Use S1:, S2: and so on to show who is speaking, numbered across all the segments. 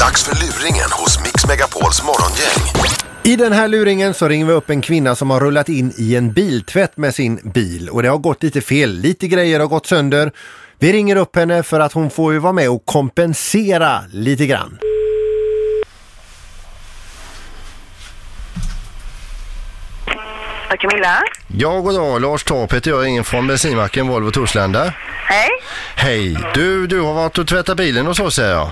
S1: Dags för luringen hos Mix Megapols morgongäng.
S2: I den här luringen så ringer vi upp en kvinna som har rullat in i en biltvätt med sin bil och det har gått lite fel, lite grejer har gått sönder. Vi ringer upp henne för att hon får ju vara med och kompensera lite grann.
S3: Ja, Camilla?
S2: Ja, god dag. Lars Torp heter jag, ingen från bensinmacken Volvo Torslanda.
S3: Hej?
S2: Hej, du, du har varit och tvättat bilen och så säger jag.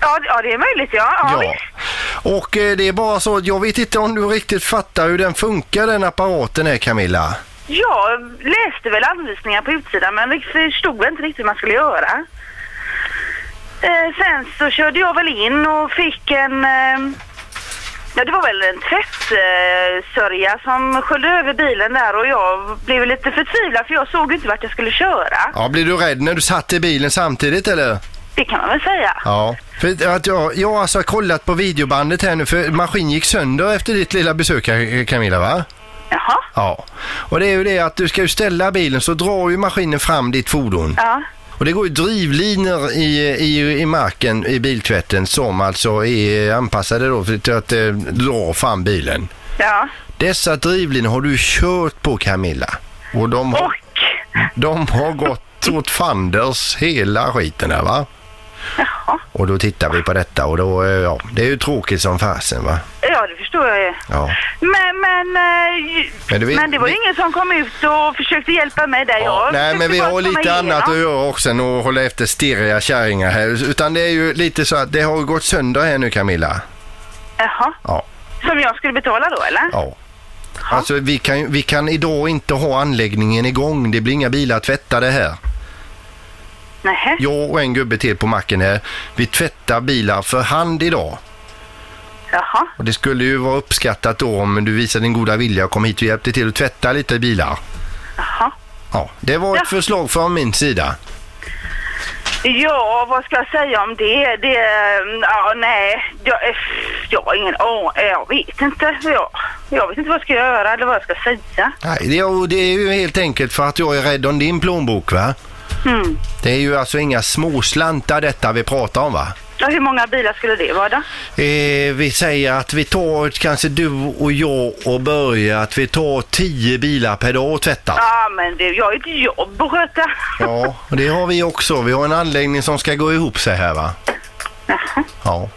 S3: Ja, det- ja det är möjligt ja. Ja, visst.
S2: Och eh, det är bara så att jag vet inte om du riktigt fattar hur den funkar den apparaten är Camilla.
S3: Jag läste väl anvisningar på utsidan men rikt- förstod inte riktigt hur man skulle göra. Eh, sen så körde jag väl in och fick en... Eh, ja, det var väl en tvättsörja eh, sörja som sköljde över bilen där och jag blev lite förtvivlad för jag såg ju inte vart jag skulle köra.
S2: Ja, blir du rädd när du satt i bilen samtidigt eller?
S3: Det kan man väl säga.
S2: Ja, för att jag, jag har alltså kollat på videobandet här nu för maskin gick sönder efter ditt lilla besök här, Camilla va?
S3: Jaha.
S2: Ja, och det är ju det att du ska ju ställa bilen så drar ju maskinen fram ditt fordon.
S3: Ja.
S2: Och det går ju drivlinor i, i, i marken i biltvätten som alltså är anpassade då för- till att eh, dra fram bilen.
S3: Ja.
S2: Dessa drivlinor har du kört på Camilla och de har,
S3: Och...
S2: de har gått åt fanders hela skiten här va?
S3: Jaha.
S2: Och då tittar vi på detta och då, eh, ja, det är ju tråkigt som fasen va?
S3: Ja, det förstår jag ju.
S2: Ja.
S3: Men, men, eh, ju-
S2: Men
S3: men,
S2: du vet-
S3: det var ju
S2: vi-
S3: ingen som kom ut och försökte hjälpa mig där.
S2: Ja,
S3: jag
S2: nej,
S3: försökte
S2: men vi
S3: bara
S2: har
S3: komma
S2: lite annat att
S3: igenom.
S2: göra också än att hålla efter stirriga kärringar här. Utan det är ju lite så att det har gått sönder här nu Camilla.
S3: Jaha,
S2: Ja,
S3: som jag skulle betala då eller?
S2: ja. Alltså vi kan, ju- vi kan idag inte ha anläggningen igång. Det blir inga bilar tvättade här.
S3: Nähä.
S2: Jag och en gubbe till på macken här. Vi tvättar bilar för hand idag.
S3: Jaha,
S2: Och det skulle ju vara uppskattat då om du visade din goda vilja och kom hit och hjälpte till att tvätta lite bilar.
S3: jaha.
S2: Ja, det var ett
S3: Ja.
S2: förslag från min sida.
S3: Ja, vad ska jag säga om det? Det, eh, ja nej, jag, eh, jag har ingen aning. Jag vet inte. Jag, jag vet inte vad jag ska göra eller vad jag ska säga.
S2: Nej, det, och det är ju helt enkelt för att jag är rädd om din plånbok va?
S3: Mm.
S2: Det är ju alltså inga småslantar detta vi pratar om va?
S3: Ja, hur många bilar skulle det vara då?
S2: Eh, vi säger att vi tar kanske du och jag och börjar att vi tar 10 bilar per dag och tvättar.
S3: Ja, men det, jag har ju ett jobb att sköta.
S2: Ja, och det har vi också. Vi har en anläggning som ska gå ihop sig här va? Ja.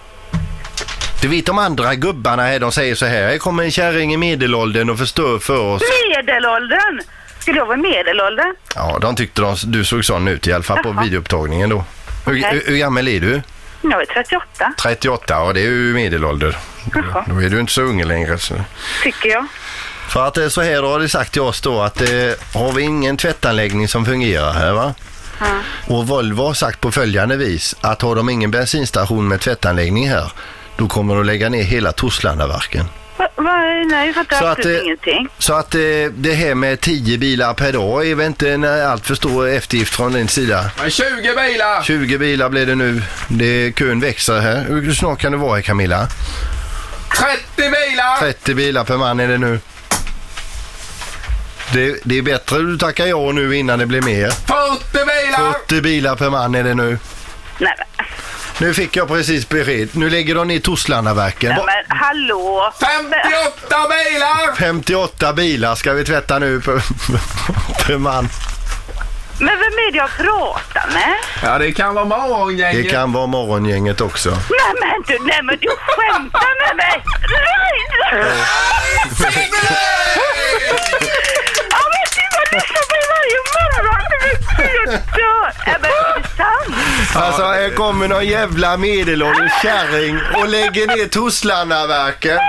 S2: Du vet de andra gubbarna här, de säger så här. Här kommer en kärring i medelåldern och förstör för oss.
S3: Medelåldern! Skulle jag vara i medelåldern?
S2: Ja, de tyckte de, du såg sån ut i alla fall på
S3: Jaha.
S2: videoupptagningen då. Hur,
S3: Okej.
S2: hur, hur gammal är du?
S3: Jag är 38,
S2: 38, och det är ju medelålder.
S3: Jaha.
S2: Då är du inte så ung längre. Så.
S3: tycker jag.
S2: För att eh, så här har det sagt till oss då att eh, har vi ingen tvättanläggning som fungerar här va? Och Volvo har sagt på följande vis att har de ingen bensinstation med tvättanläggning här då kommer de lägga ner hela Torslandaverken.
S3: Va, va, nej, jag fattar
S2: Så att,
S3: absolut
S2: eh,
S3: ingenting.
S2: Så att eh, det här med 10 bilar per dag är väl inte en eh, alltför stor eftergift från din sida.
S4: Men 20 bilar!
S2: 20 bilar blir det nu. Det, kön växer här. Hur snart kan det vara här Camilla?
S4: 30 bilar!
S2: 30 bilar per man är det nu. Det, det är bättre du tackar ja nu innan det blir mer.
S4: 40 bilar!
S2: 80 bilar per man är det nu.
S3: Nej, men,
S2: Nu fick jag precis besked. Nu lägger de ner Torslandaverken.
S3: nej, alltså, men hallå!
S4: 58 bilar!
S2: 58 bilar ska vi tvätta nu per, per man.
S3: Men vem är det jag pratar med?
S4: Ja, det kan vara
S2: Det
S4: morgongänget.
S2: kan vara morgongänget också.
S3: Nej men du, nej men du skämtar med mig! Nej! Jag vet inte vad du lyssnar på varje morgon! Men jag dör! Nej, men är det sant?
S2: Alltså här kommer någon jävla medelålders kärring och lägger ner Torslandaverken.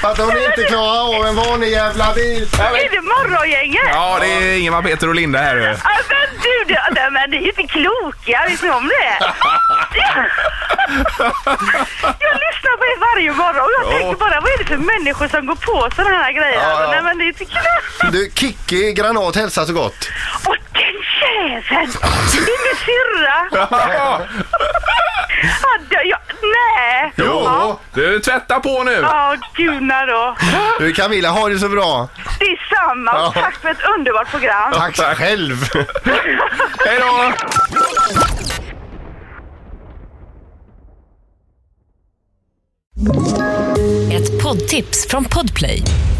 S2: För att hon inte klarar av en vanlig jävla bil.
S3: Är det morgongänget?
S4: Ja, det är Ingemar, Peter och Linda här du.
S3: Ja, men du, du, nej, men ni är ju inte kloka, vet ni om det? Jag lyssnar på er varje morgon och jag tänker bara, vad är det för människor som går på sådana här grejer?
S2: Ja, ja.
S3: Nej, men det är inte klokt.
S2: Du, Kikki Granat hälsar så gott.
S3: Och den jäveln! Det är min syrra! Ja, det- jag- Nej! Ja.
S4: Du, tvätta på nu!
S3: Ja, gudna då.
S2: Du Camilla, ha det så bra.
S3: Det är samma. Tack för ett underbart program.
S2: Tack själv.
S4: Hej då!
S5: Ett poddtips från Podplay.